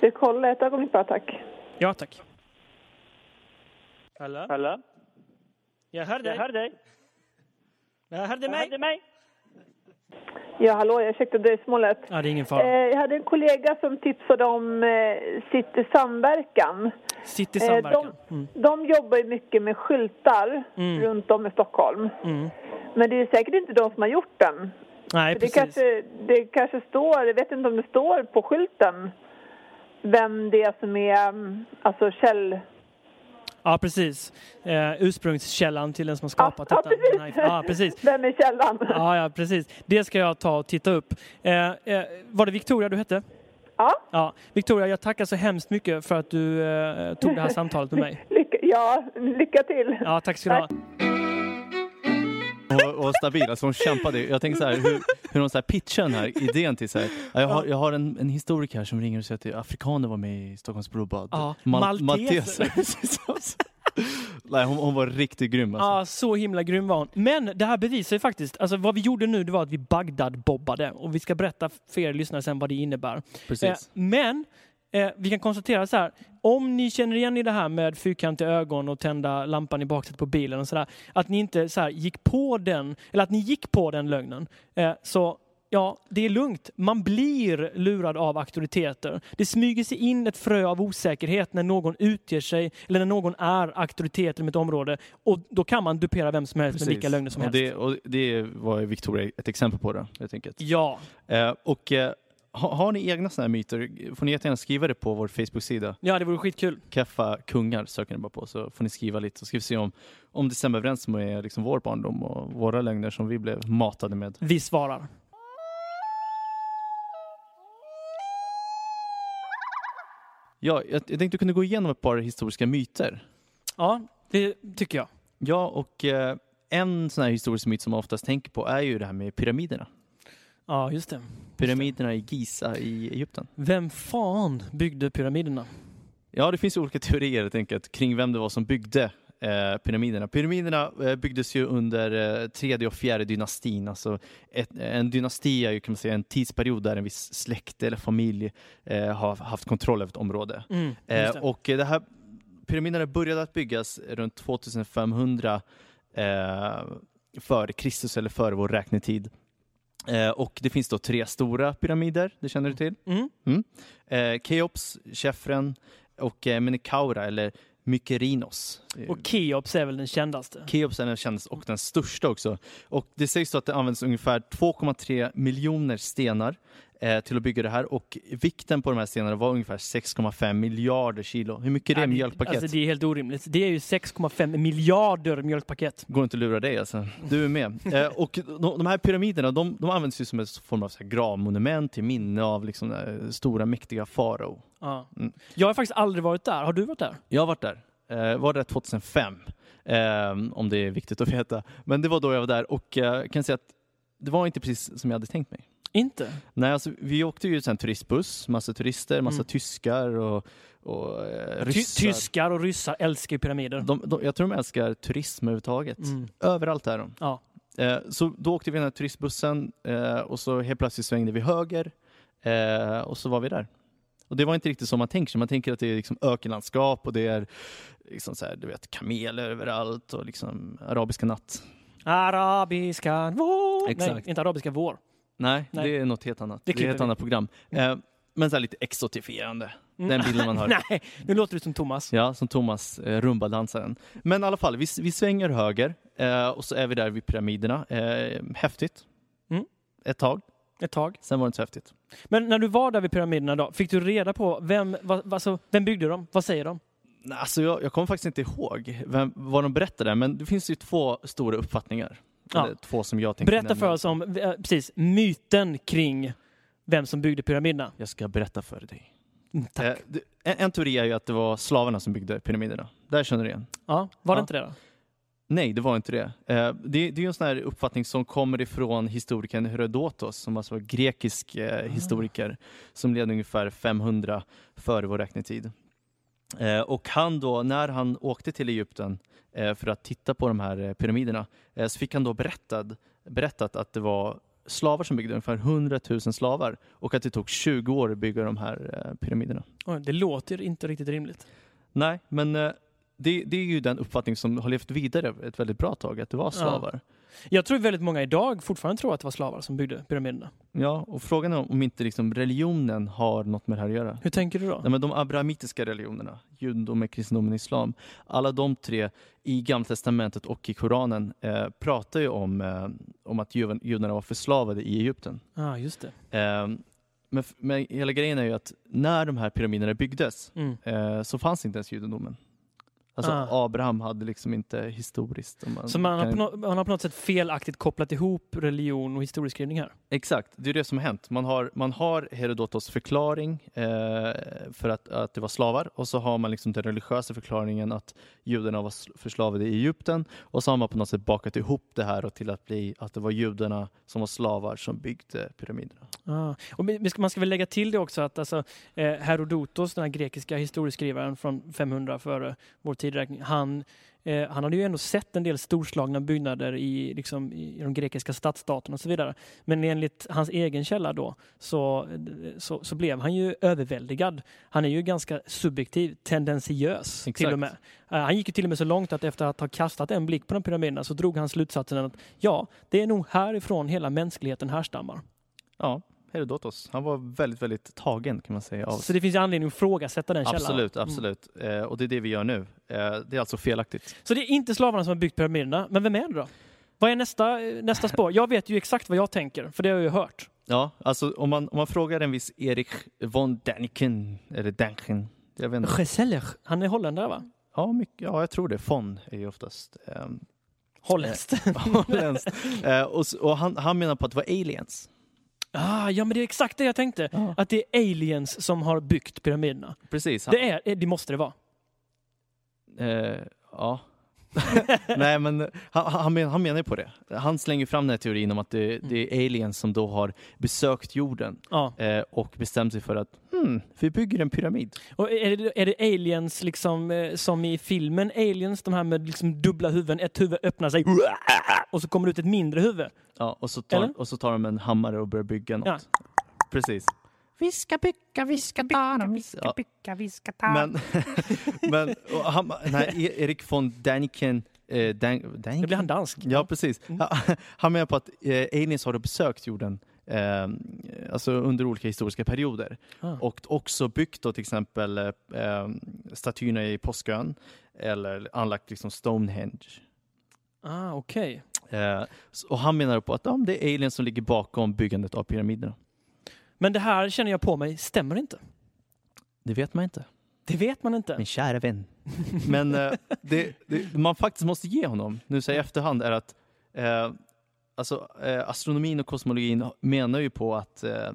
Speaker 3: Vi kollar ett ögonblick bara tack.
Speaker 2: Ja, tack. Hallå?
Speaker 4: Hallå?
Speaker 2: Jag hör
Speaker 4: Jag
Speaker 2: dig.
Speaker 4: hör dig.
Speaker 2: Jag hörde
Speaker 4: Jag
Speaker 2: mig.
Speaker 4: hörde mig.
Speaker 3: Ja, hallå, jag ursäktar dröjsmålet.
Speaker 2: Ja, det är ingen
Speaker 3: Eh,
Speaker 2: fara.
Speaker 3: jag hade en kollega som tipsade om eh, City Samverkan.
Speaker 2: Sitt i
Speaker 3: Eh,
Speaker 2: samverkan. Mm.
Speaker 3: De, de jobbar ju mycket med skyltar
Speaker 2: Mm.
Speaker 3: runt om i Stockholm.
Speaker 2: Mm.
Speaker 3: Men det är ju säkert inte de som har gjort den.
Speaker 2: Nej,
Speaker 3: För det,
Speaker 2: precis.
Speaker 3: kanske, det kanske står, jag vet inte om det står på skylten vem det är som är mm, alltså käll...
Speaker 2: Ja, precis. Eh, ursprungskällan till den som har skapat
Speaker 3: ja,
Speaker 2: detta.
Speaker 3: precis.
Speaker 2: Nej, Ja, precis.
Speaker 3: Vem är källan? Ja.
Speaker 2: Ja, ja, precis. Det ska jag ta och titta upp. Eh, eh, var det Victoria du hette? Ja, Victoria, jag tackar så hemskt mycket för att du eh, tog det här samtalet med mig.
Speaker 3: Lycka, ja, lycka till.
Speaker 2: Ja, tack ska du ha.
Speaker 1: Hon var, var stabil, alltså hon kämpade. Jag tänker så här, hur, hur hon så här pitchade den här idén till så här. ja, Jag har, jag har en, en historiker här som ringer och säger att afrikaner var med i Stockholms blodbad.
Speaker 2: Ja,
Speaker 1: Mal-
Speaker 2: malteser.
Speaker 1: malteser. Precis, alltså. Nej, hon, hon var riktigt grym alltså.
Speaker 2: Ja, så himla grym var hon. Men det här bevisar ju faktiskt, alltså vad vi gjorde nu det var att vi Bagdad-bobbade och vi ska berätta för er lyssnare sen vad det innebär.
Speaker 1: Precis.
Speaker 2: Eh, men Eh, vi kan konstatera så här, om ni känner igen i det här med fyrkantiga ögon och tända lampan i baksätet på bilen och sådär, att ni inte så här, gick på den, eller att ni gick på den lögnen, eh, så Ja, det är lugnt. Man blir lurad av auktoriteter. Det smyger sig in ett frö av osäkerhet när någon utger sig eller när någon är auktoritet inom ett område. Och då kan man dupera vem som helst med vilka lögner som
Speaker 1: och
Speaker 2: helst.
Speaker 1: det, och det var ju Victoria ett exempel på då, helt enkelt.
Speaker 2: Ja,
Speaker 1: Eh, och eh, ha, har ni egna sådana här myter får ni jättegärna skriva det på vår Facebook-sida.
Speaker 2: ja, det vore skitkul.
Speaker 1: Kaffa kungar söker ni bara på så får ni skriva lite så ska vi se om, om det stämmer överens med liksom vår barndom och våra lögner som vi blev matade med.
Speaker 2: Vi svarar.
Speaker 1: Ja, jag, jag tänkte kunna gå igenom ett par historiska myter.
Speaker 2: Ja, det tycker jag.
Speaker 1: Ja, och eh, en sån här historisk myt som man oftast tänker på är ju det här med pyramiderna.
Speaker 2: Ja, just det.
Speaker 1: Pyramiderna i Giza i Egypten.
Speaker 2: Vem fan byggde pyramiderna?
Speaker 1: Ja, det finns ju olika teorier helt enkelt kring vem det var som byggde eh, pyramiderna. Pyramiderna eh, byggdes ju under eh, tredje och fjärde dynastin. Alltså ett, en dynasti är ju kan man säga en tidsperiod där en viss släkt eller familj eh, har haft kontroll över ett område.
Speaker 2: Mm,
Speaker 1: Eh,
Speaker 2: just det.
Speaker 1: och eh, det här, pyramiderna började att byggas runt 2500 eh, före Kristus eller före vår räknetid. Eh, och det finns då tre stora pyramider, det känner du till.
Speaker 2: Mm.
Speaker 1: Eh, Keops, Chefren och eh, Menekaura eller Mykerinos. Eh,
Speaker 2: Och Keops är väl den kändaste?
Speaker 1: Keops är den kändaste och den största också. Och det sägs då att det används ungefär 2,3 miljoner stenar eh, till att bygga det här och vikten på de här stenarna var ungefär 6,5 miljarder kilo. Hur mycket är det
Speaker 2: Ja,
Speaker 1: mjölkpaket?
Speaker 2: Alltså, det är helt orimligt. Det är ju 6,5 miljarder mjölkpaket.
Speaker 1: Går inte att lura dig alltså. Du är med. Eh, och de, de här pyramiderna de, de används ju som en form av så här gravmonument till minne av liksom, eh, stora mäktiga farao.
Speaker 2: Ja.
Speaker 1: Mm.
Speaker 2: Jag har faktiskt aldrig varit där. Har du varit där?
Speaker 1: Jag har varit där. Eh, var där 2005, eh, om det är viktigt att veta. Men det var då jag var där och eh, kan säga att det var inte precis som jag hade tänkt mig.
Speaker 2: Inte?
Speaker 1: Nej, alltså, vi åkte ju en turistbuss, massa turister, massa
Speaker 2: Mm.
Speaker 1: tyskar och, och eh,
Speaker 2: Ty-
Speaker 1: ryssar.
Speaker 2: Tyskar och ryssar älskar ju pyramider.
Speaker 1: de, de, jag tror de älskar turism överhuvudtaget.
Speaker 2: Mm.
Speaker 1: Överallt är de.
Speaker 2: Ja.
Speaker 1: Eh, så då åkte vi den här turistbussen eh, och så helt plötsligt svängde vi höger eh, och så var vi där. Och det var inte riktigt som man tänker sig. Man tänker att det är liksom ökenlandskap och det är liksom så här, du vet, kameler överallt och liksom arabiska natt.
Speaker 2: Arabiska vår. Nej,
Speaker 1: Exakt.
Speaker 2: inte arabiska vår.
Speaker 1: Nej,
Speaker 2: Nej.
Speaker 1: det är något helt annat. Det, är
Speaker 2: Det
Speaker 1: ett
Speaker 2: klipper vi. Mm.
Speaker 1: annat program. Eh, men så här lite exotifierande. Den bilden man har.
Speaker 2: Nej, nu låter du som Thomas.
Speaker 1: Ja, som Thomas, eh, rumbadansaren. Men i alla fall, vi, vi svänger höger eh, och så är vi där vid pyramiderna. Eh, häftigt.
Speaker 2: Mm.
Speaker 1: Ett tag,
Speaker 2: Ett tag.
Speaker 1: sen var det inte så häftigt.
Speaker 2: Men när du var där vid pyramiderna då, fick du reda på vem, vad, alltså, vem byggde dem? Vad säger de?
Speaker 1: Nej, Alltså jag, jag kommer faktiskt inte ihåg vem, vad de berättade, men det finns ju två stora uppfattningar.
Speaker 2: Ja.
Speaker 1: Eller två som jag tänkte
Speaker 2: Berätta
Speaker 1: nämna.
Speaker 2: för oss om eh, precis, myten kring vem som byggde pyramiderna.
Speaker 1: Jag ska berätta för dig.
Speaker 2: Mm, Tack.
Speaker 1: Eh, det- en, en teori är ju att det var slavarna som byggde pyramiderna. Där känner du igen.
Speaker 2: Ja, var det
Speaker 1: ja.
Speaker 2: inte det då?
Speaker 1: Nej, det var inte det. Eh, det, det är ju en sån här uppfattning som kommer ifrån historikern Herodotos, som alltså var grekisk eh, historiker, som levde ungefär 500 före vår räknetid. Eh, och han då, när han åkte till Egypten eh, för att titta på de här eh, pyramiderna, eh, så fick han då berättad, berättat att det var slavar som byggde, ungefär 100 000 slavar, och att det tog 20 år att bygga de här eh, pyramiderna.
Speaker 2: Oj, Det låter inte riktigt rimligt.
Speaker 1: Nej, men eh, det, det är ju den uppfattning som har levt vidare ett väldigt bra tag, att det var slavar.
Speaker 2: Jag tror väldigt många idag fortfarande tror att det var slavar som byggde pyramiderna.
Speaker 1: Ja, och frågan är om inte liksom religionen har något med det här att göra.
Speaker 2: Hur tänker du då?
Speaker 1: Nej, men de abrahamitiska religionerna, judendomen, kristendomen, islam, alla de tre i Gamla testamentet och i Koranen eh, pratar ju om, eh, om att juden- judarna var förslavade i Egypten.
Speaker 2: Ja, ah, just det.
Speaker 1: Eh, men, f- men hela grejen är ju att när de här pyramiderna byggdes
Speaker 2: Mm.
Speaker 1: eh, så fanns inte ens judendomen. Alltså
Speaker 2: Ah.
Speaker 1: Abraham hade liksom inte historiskt... om Man
Speaker 2: Så man har,
Speaker 1: kan-
Speaker 2: på nå- man har på något sätt felaktigt kopplat ihop religion och historieskrivning här.
Speaker 1: Exakt, det är det som har hänt. Man har, man har Herodotos förklaring eh, för att, att det var slavar och så har man liksom den religiösa förklaringen att judarna var sl- förslavade i Egypten och så har man på något sätt bakat ihop det här och till att bli att det var judarna som var slavar som byggde pyramiderna.
Speaker 2: Ah. Och vi- vi ska- man ska väl lägga till det också att alltså, eh, Herodotos, den här grekiska historieskrivaren från 500 före vår tideräkning, han, eh, han hade ju ändå sett en del storslagna byggnader i, liksom, i de grekiska stadsstaterna och så vidare. Men enligt hans egen källa då så, så, så blev han ju överväldigad. Han är ju ganska subjektiv, tendensiös till
Speaker 1: Exakt.
Speaker 2: och med. Eh, Han gick ju till och med så långt att efter att ha kastat en blick på de pyramiderna så drog han slutsatsen att ja, det är nog härifrån hela mänskligheten härstammar.
Speaker 1: Ja, Herodotos. Han var väldigt, väldigt tagen kan man säga. Av
Speaker 2: Så det finns ju anledning att ifrågasätta den Mm. källan.
Speaker 1: absolut, absolut. Eh, och det är det vi gör nu. Eh, det är alltså felaktigt.
Speaker 2: Så det är inte slavarna som har byggt pyramiderna, men vem är det då? Vad är nästa, eh, nästa spår? Jag vet ju exakt vad jag tänker, för det har jag ju hört.
Speaker 1: Ja, alltså om man, om man frågar en viss Erik von Däniken, eller Dänken, jag vet inte.
Speaker 2: Geseller. Han är holländare va?
Speaker 1: Ja, mycket, ja, jag tror det. Von är ju oftast ehm,
Speaker 2: Holländskt.
Speaker 1: holländskt. Eh, och s- och han, han menar på att det var aliens.
Speaker 2: ah, ja, men det är exakt det jag tänkte.
Speaker 1: Ja.
Speaker 2: Att det är aliens som har byggt pyramiderna.
Speaker 1: Precis. Han,
Speaker 2: Det, är, det måste det vara.
Speaker 1: eh, ja. Nej, men han, han, men, han menar ju på det. Han slänger fram den här teorin om att det,
Speaker 2: Mm.
Speaker 1: det är aliens som då har besökt jorden
Speaker 2: Ja.
Speaker 1: eh, och bestämt sig för att hmm, vi bygger en pyramid.
Speaker 2: Och är det, är det aliens liksom, eh, som i filmen Aliens, de här med liksom dubbla huvuden, ett huvud öppnar sig och så kommer det ut ett mindre huvud.
Speaker 1: Ja, och, så tar,
Speaker 2: Eller?
Speaker 1: och så tar de en hammare och börjar bygga något.
Speaker 2: Ja.
Speaker 1: Precis.
Speaker 4: Vi ska bygga, vi ska ta, vi
Speaker 1: Ja.
Speaker 4: ska bygga, vi ska
Speaker 2: Ah.
Speaker 4: ta.
Speaker 1: Men, men och han, den här E- Erik von Däniken, eh, Dan,
Speaker 2: Nu
Speaker 1: Däniken?
Speaker 2: blir han dansk.
Speaker 1: Ja, precis. Ha- Han menar på att eh, aliens har då besökt jorden eh, alltså under olika historiska perioder
Speaker 2: Ah.
Speaker 1: och också byggt då till exempel eh, eh, statyerna i Påskön eller anlagt liksom Stonehenge.
Speaker 2: Ah, Okej.
Speaker 1: Eh, s- och han menar på att ja, men det är aliens som ligger bakom byggandet av pyramiderna.
Speaker 2: Men det här känner jag på mig stämmer inte.
Speaker 1: Det vet man inte,
Speaker 2: Det vet man inte.
Speaker 1: min kära vän. Men eh, det, det man faktiskt måste ge honom, nu säger jag i efterhand, är att eh, alltså, eh, astronomin och kosmologin menar ju på att eh,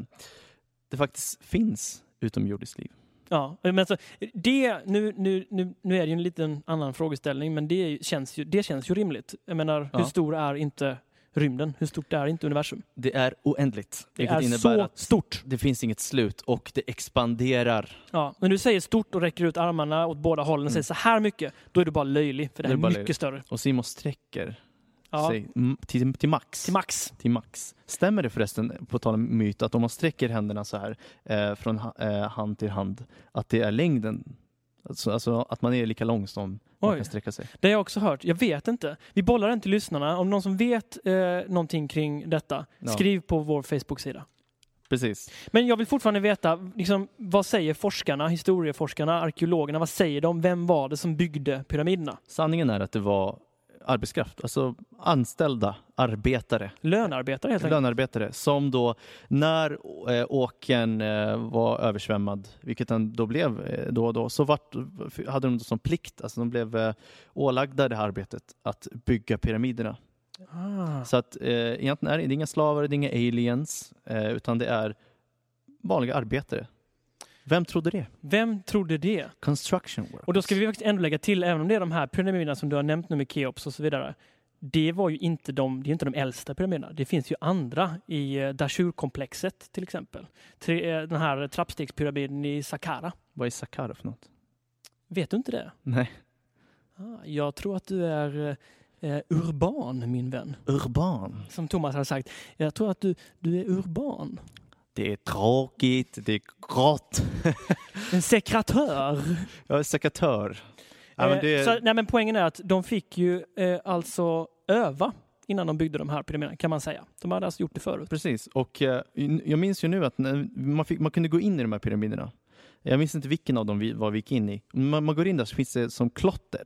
Speaker 1: det faktiskt finns utomjordiskt liv.
Speaker 2: Ja, men alltså, det, nu, nu, nu, nu är det ju en liten annan frågeställning, men det känns ju, det känns ju rimligt. Jag menar, hur
Speaker 1: Ja.
Speaker 2: stor är inte rymden? Hur stort är inte universum?
Speaker 1: Det är oändligt,
Speaker 2: Det
Speaker 1: vilket
Speaker 2: är
Speaker 1: innebär
Speaker 2: så
Speaker 1: att
Speaker 2: stort.
Speaker 1: det finns inget slut och det expanderar.
Speaker 2: Ja, men du säger stort och räcker ut armarna åt båda hållen och säger så här mycket, då är du bara löjlig, för det
Speaker 1: Mm. Då
Speaker 2: här
Speaker 1: är du bara
Speaker 2: är mycket
Speaker 1: löjlig.
Speaker 2: större.
Speaker 1: Och Simon sträcker
Speaker 2: Ja,
Speaker 1: sig mm, till, till max.
Speaker 2: till max.
Speaker 1: till max. Stämmer det förresten, på tal om myt, att om man sträcker händerna så här eh, från ha, eh, hand till hand, att det är längden? Alltså, alltså att man är lika lång som man
Speaker 2: Oj.
Speaker 1: kan sträcka sig.
Speaker 2: Det har jag också hört. Jag vet inte. Vi bollar den till lyssnarna. Om någon som vet eh, någonting kring detta,
Speaker 1: Ja.
Speaker 2: skriv på vår Facebook-sida.
Speaker 1: Precis.
Speaker 2: Men jag vill fortfarande veta, liksom, vad säger forskarna, historieforskarna, arkeologerna, vad säger de? Vem var det som byggde pyramiderna?
Speaker 1: Sanningen är att det var arbetskraft, alltså anställda arbetare,
Speaker 2: Lönarbetare helt enkelt.
Speaker 1: lönarbetare som då när eh, åken eh, var översvämmad, vilket den då blev eh, då och då, så vart, hade de då som plikt, alltså de blev eh, ålagda det här arbetet att bygga pyramiderna.
Speaker 2: Ah.
Speaker 1: Så att eh, egentligen är det inga slavar, det är inga aliens, eh, utan det är vanliga arbetare. Vem trodde det?
Speaker 2: Vem trodde det?
Speaker 1: Construction workers.
Speaker 2: Och då ska vi faktiskt ändå lägga till, även om det är de här pyramiderna som du har nämnt nu med Keops och så vidare. Det var ju inte de, det är inte de äldsta pyramiderna. Det finns ju andra i eh, Dashur-komplexet till exempel. Tre, eh, den här trappstegspyramiden i Saqqara.
Speaker 1: Vad är Saqqara för något?
Speaker 2: Vet du inte det?
Speaker 1: Nej.
Speaker 2: Ah, jag tror att du är eh, eh, urban, min vän.
Speaker 1: Urban.
Speaker 2: Som Thomas har sagt, jag tror att du, du är urban.
Speaker 1: Det är tråkigt, det är grått.
Speaker 2: En sekratör.
Speaker 1: Jag är sekatör. Ja, men det
Speaker 2: Eh, Så, nej, men poängen är att de fick ju eh, alltså öva innan de byggde de här pyramiderna, kan man säga. De hade alltså gjort det förut.
Speaker 1: Precis, och eh, jag minns ju nu att när man, fick, man kunde gå in i de här pyramiderna. Jag minns inte vilken av dem vi, vad vi gick in i. Man, man går in där så finns det som klotter.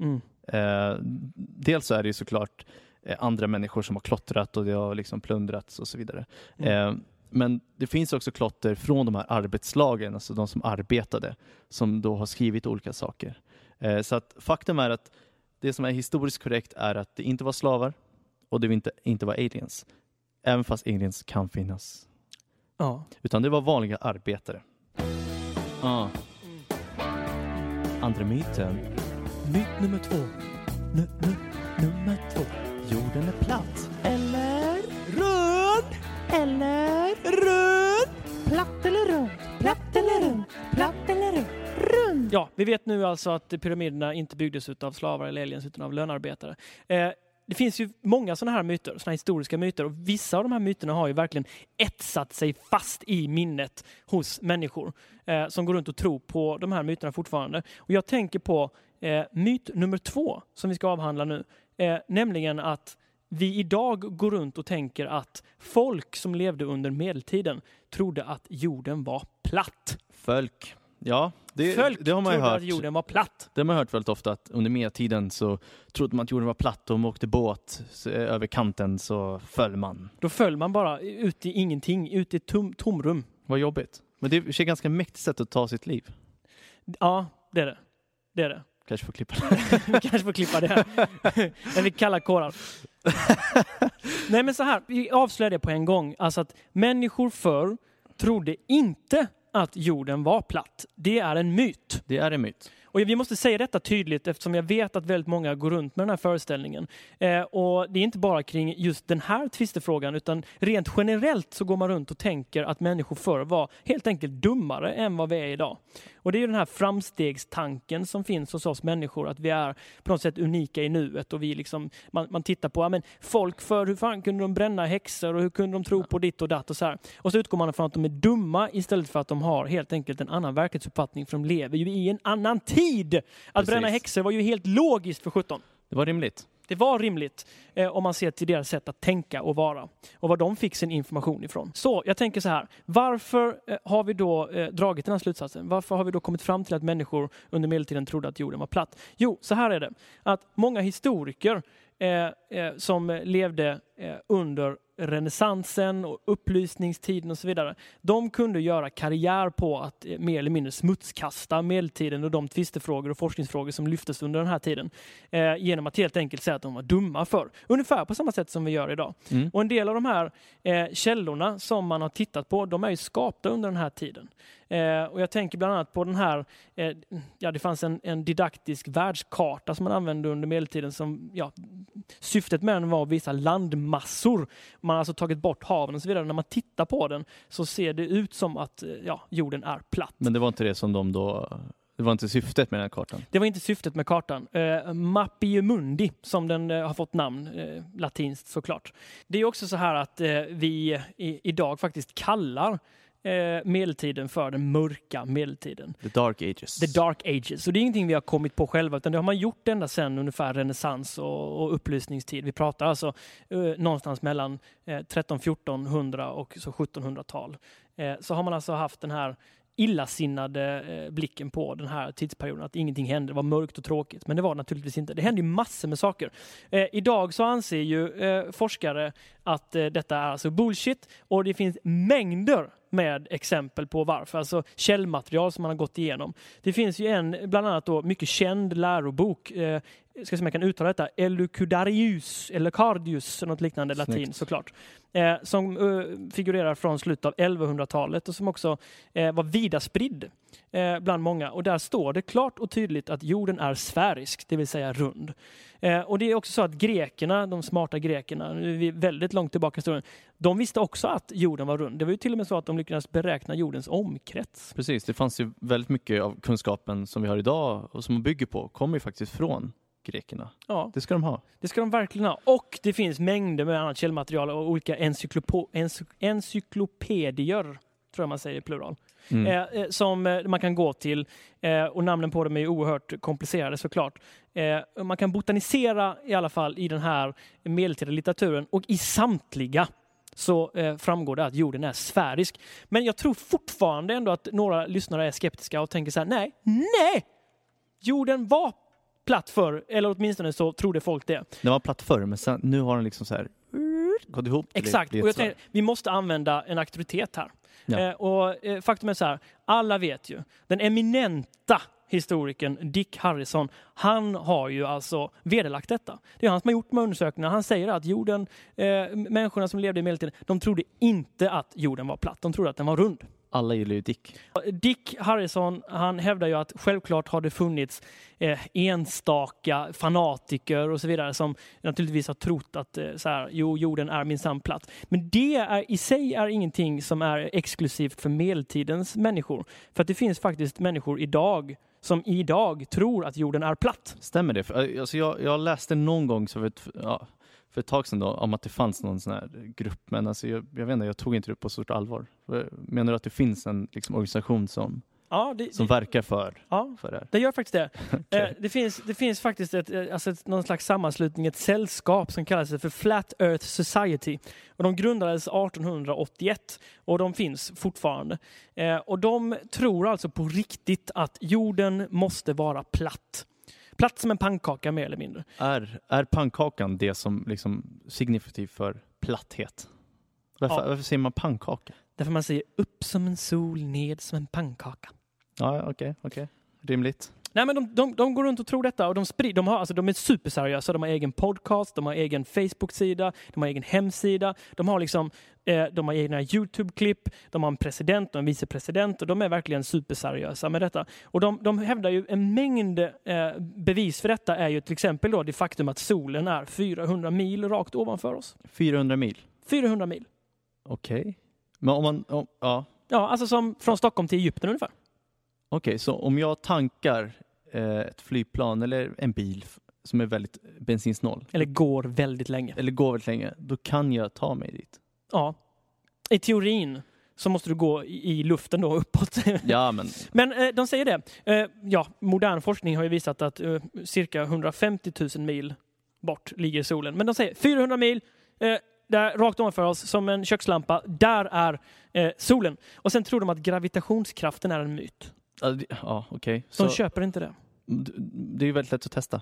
Speaker 2: Mm.
Speaker 1: Eh, dels så är det ju såklart eh, andra människor som har klottrat och det har liksom plundrats och så vidare. Eh, men det finns också klotter från de här arbetslagen, alltså de som arbetade, som då har skrivit olika saker. Eh, så att faktum är att det som är historiskt korrekt är att det inte var slavar och det inte, inte var aliens. Även fast aliens kan finnas.
Speaker 2: Ja.
Speaker 1: Utan det var vanliga arbetare. Ah. Andra myten.
Speaker 2: Myt nummer två. Nu, nu, nummer två.
Speaker 1: Jorden är platt.
Speaker 4: Eller rund. Eller rund. Platt eller rund. Platt eller rund. Platt eller rund. Rund.
Speaker 2: Ja, vi vet nu alltså att pyramiderna inte byggdes av slavar eller aliens utan av lönarbetare. Eh, det finns ju många sådana här myter, sådana här historiska myter och vissa av de här myterna har ju verkligen etsat sig fast i minnet hos människor eh, som går runt och tror på de här myterna fortfarande. Och jag tänker på eh, myt nummer två som vi ska avhandla nu, eh, nämligen att vi idag går runt och tänker att folk som levde under medeltiden trodde att jorden var platt.
Speaker 1: Folk. Ja, det,
Speaker 2: Folk
Speaker 1: det har man ju
Speaker 2: trodde
Speaker 1: hört.
Speaker 2: att jorden var platt.
Speaker 1: Det har man hört väldigt ofta att under medeltiden så trodde man att jorden var platt och om man åkte båt så, eh, över kanten så föll man.
Speaker 2: Då föll man bara ut i ingenting, ut i tom, tomrum.
Speaker 1: Vad jobbigt. Men det är i och för sig ett ganska mäktigt sätt att ta sitt liv.
Speaker 2: Ja, det är det. Det är det.
Speaker 1: Kanske får klippa det.
Speaker 2: Vi kanske får klippa det. När vi kallar kårar. Nej men så här, vi avslöjar det på en gång. Alltså att människor förr trodde inte att jorden var platt. Det är en myt.
Speaker 1: Det är en myt.
Speaker 2: Och vi måste säga detta tydligt eftersom jag vet att väldigt många går runt med den här föreställningen. Eh, och det är inte bara kring just den här tvistefrågan utan rent generellt så går man runt och tänker att människor förr var helt enkelt dummare än vad vi är idag. Och det är ju den här framstegstanken som finns hos oss människor att vi är på något sätt unika i nuet och vi liksom, man, man tittar på, ja men folk för hur fan kunde de bränna häxor och hur kunde de tro på ditt och datt och så här. Och så utgår man från att de är dumma istället för att de har helt enkelt en annan verklighetsuppfattning för de lever ju i en annan tid. Att
Speaker 1: Precis.
Speaker 2: bränna häxor var ju helt logiskt för 17.
Speaker 1: Det var rimligt.
Speaker 2: Det var rimligt eh, om man ser till deras sätt att tänka och vara och var de fick sin information ifrån. Så jag tänker så här, varför eh, har vi då eh, dragit den här slutsatsen? Varför har vi då kommit fram till att människor under medeltiden trodde att jorden var platt? Jo, så här är det, att många historiker eh, eh, som eh, levde eh, under renässansen och upplysningstiden och så vidare. De kunde göra karriär på att eh, mer eller mindre smutskasta medeltiden och de tvistefrågor och forskningsfrågor som lyftes under den här tiden eh, genom att helt enkelt säga att de var dumma för. Ungefär på samma sätt som vi gör idag.
Speaker 1: Mm.
Speaker 2: Och en del av de här eh, källorna som man har tittat på, de är ju skapta under den här tiden. Eh, och jag tänker bland annat på den här, eh, ja det fanns en, en didaktisk världskarta som man använde under medeltiden som, ja, syftet med den var att visa landmassor. Man har alltså tagit bort haven och så vidare. När man tittar på den så ser det ut som att eh, ja, jorden är platt.
Speaker 1: Men det var inte det som de då... Det var inte syftet med den här kartan.
Speaker 2: Det var inte syftet med kartan. Eh, Mappiumundi, som den eh, har fått namn, eh, latinskt såklart. Det är också så här att eh, vi i, idag faktiskt kallar eh, medeltiden för den mörka medeltiden.
Speaker 1: The dark ages.
Speaker 2: The Dark Ages. Och det är ingenting vi har kommit på själva, utan det har man gjort ända sedan ungefär renässans och, och upplysningstid. Vi pratar alltså eh, någonstans mellan eh, 13 1400 och så 1700-tal. Eh, så har man alltså haft den här illasinnade eh, blicken på den här tidsperioden, att ingenting hände, det var mörkt och tråkigt. Men det var det naturligtvis inte. Det hände ju massor med saker. Eh, idag så anser ju eh, forskare att eh, detta är alltså bullshit och det finns mängder med exempel på varför, alltså källmaterial som man har gått igenom. Det finns ju en, bland annat då, mycket känd lärobok, eh, ska se om jag kan uttala detta, Elucudarius, eller Cardius, något liknande, latin
Speaker 1: Snyggt.
Speaker 2: såklart, eh, som eh, figurerar från slutet av 1100-talet och som också eh, var vida spridd eh, bland många. Och där står det klart och tydligt att jorden är sfärisk, det vill säga rund. Eh, och det är också så att grekerna, de smarta grekerna, nu är vi väldigt långt tillbaka i historien, de visste också att jorden var rund. Det var ju till och med så att de lyckades beräkna jordens omkrets.
Speaker 1: Precis, det fanns ju väldigt mycket av kunskapen som vi har idag och som man bygger på kommer ju faktiskt från grekerna.
Speaker 2: Ja,
Speaker 1: Det ska de ha.
Speaker 2: det ska de verkligen ha. Och det finns mängder med annat källmaterial och olika encyklopo- ency- encyklopedier, tror jag man säger i plural.
Speaker 1: Mm.
Speaker 2: eh, eh, som eh, man kan gå till. Eh, och namnen på dem är ju oerhört komplicerade såklart. Eh, man kan botanisera i alla fall i den här medeltida litteraturen och i samtliga så eh, framgår det att jorden är sfärisk. Men jag tror fortfarande ändå att några lyssnare är skeptiska och tänker så här, nej, nej! Jorden var platt förr, eller åtminstone så trodde folk det.
Speaker 1: Den var platt förr, men sen, nu har den liksom så här gått ihop. till
Speaker 2: Exakt,
Speaker 1: det- det är
Speaker 2: och jag
Speaker 1: ett så här-
Speaker 2: tänker, vi måste använda en auktoritet här.
Speaker 1: Ja.
Speaker 2: Eh, och eh, faktum är så här, alla vet ju, den eminenta historikern Dick Harrison, han har ju alltså vederlagt detta. Det är han som har gjort de här undersökningarna. Han säger att jorden, eh, människorna som levde i medeltiden, de trodde inte att jorden var platt. De trodde att den var rund.
Speaker 1: Alla gillar ju Dick.
Speaker 2: Dick Harrison han hävdar ju att självklart har det funnits eh, enstaka fanatiker och så vidare som naturligtvis har trott att eh, så här, jo, jorden är minsann platt. Men det är, i sig är ingenting som är exklusivt för medeltidens människor. För att det finns faktiskt människor idag som idag tror att jorden är platt.
Speaker 1: Stämmer det? För, alltså, jag, jag läste någon gång så för, ett, ja, för ett tag sedan då, om att det fanns någon sån här grupp, men alltså, jag, jag vet inte, jag tog inte det på stort allvar. Menar du att det finns en liksom, organisation som,
Speaker 2: Ja, det,
Speaker 1: som verkar för,
Speaker 2: ja,
Speaker 1: för det här?
Speaker 2: Det gör faktiskt det.
Speaker 1: Okej.
Speaker 2: Eh, Det, finns, det finns faktiskt ett, eh, alltså ett, någon slags sammanslutning, ett sällskap som kallas för Flat Earth Society. Och de grundades 1881 och de finns fortfarande. Eh, Och de tror alltså på riktigt att jorden måste vara platt. Platt som en pannkaka mer eller mindre.
Speaker 1: Är, är pannkakan det som liksom signifikativt för platthet? Varför,
Speaker 2: Ja.
Speaker 1: varför säger man pannkaka?
Speaker 2: Därför man säger upp som en sol, ned som en pannkaka.
Speaker 1: Ja, ja, okej, okej. Rimligt.
Speaker 2: Nej, men de, de, de går runt och tror detta och de, sprid, de, har, alltså, de är superseriösa. De har egen podcast, de har egen Facebook-sida, de har egen hemsida, de har, liksom, eh, de har egna YouTube-klipp, de har en president och en vicepresident och de är verkligen superseriösa med detta. Och de, de hävdar ju en mängd eh, bevis för detta är ju till exempel då det faktum att solen är 400 mil rakt ovanför oss.
Speaker 1: 400 mil.
Speaker 2: 400 mil.
Speaker 1: Okej. Men om man, om, ja.
Speaker 2: Ja, alltså som från Stockholm till Egypten ungefär.
Speaker 1: Okej, så om jag tankar eh, ett flygplan eller en bil f- som är väldigt bensinsnål
Speaker 2: Eller går väldigt länge.
Speaker 1: eller går väldigt länge, då kan jag ta mig dit.
Speaker 2: Ja. I teorin så måste du gå i i luften då uppåt.
Speaker 1: Ja, men
Speaker 2: Men eh, de säger det. Eh, ja, modern forskning har ju visat att eh, cirka 150 000 mil bort ligger solen. Men de säger 400 mil, eh, där, rakt ovanför oss, som en kökslampa. Där är eh, solen. Och sen tror de att gravitationskraften är en myt.
Speaker 1: ja, det- ja, okej.
Speaker 2: Så de
Speaker 1: Så
Speaker 2: köper inte det.
Speaker 1: d- Det är ju väldigt lätt att testa.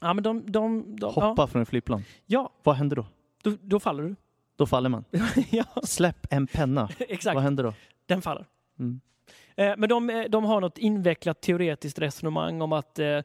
Speaker 2: Ja, men de... de, de
Speaker 1: Hoppa från ett flygplan.
Speaker 2: Ja, ja
Speaker 1: Vad händer då?
Speaker 2: då, då faller du.
Speaker 1: Då faller man.
Speaker 2: ja,
Speaker 1: Släpp en penna.
Speaker 2: exakt.
Speaker 1: Vad händer då?
Speaker 2: Den faller.
Speaker 1: Mm.
Speaker 2: Eh, Men de, eh, de har något invecklat teoretiskt resonemang om att eh, eh,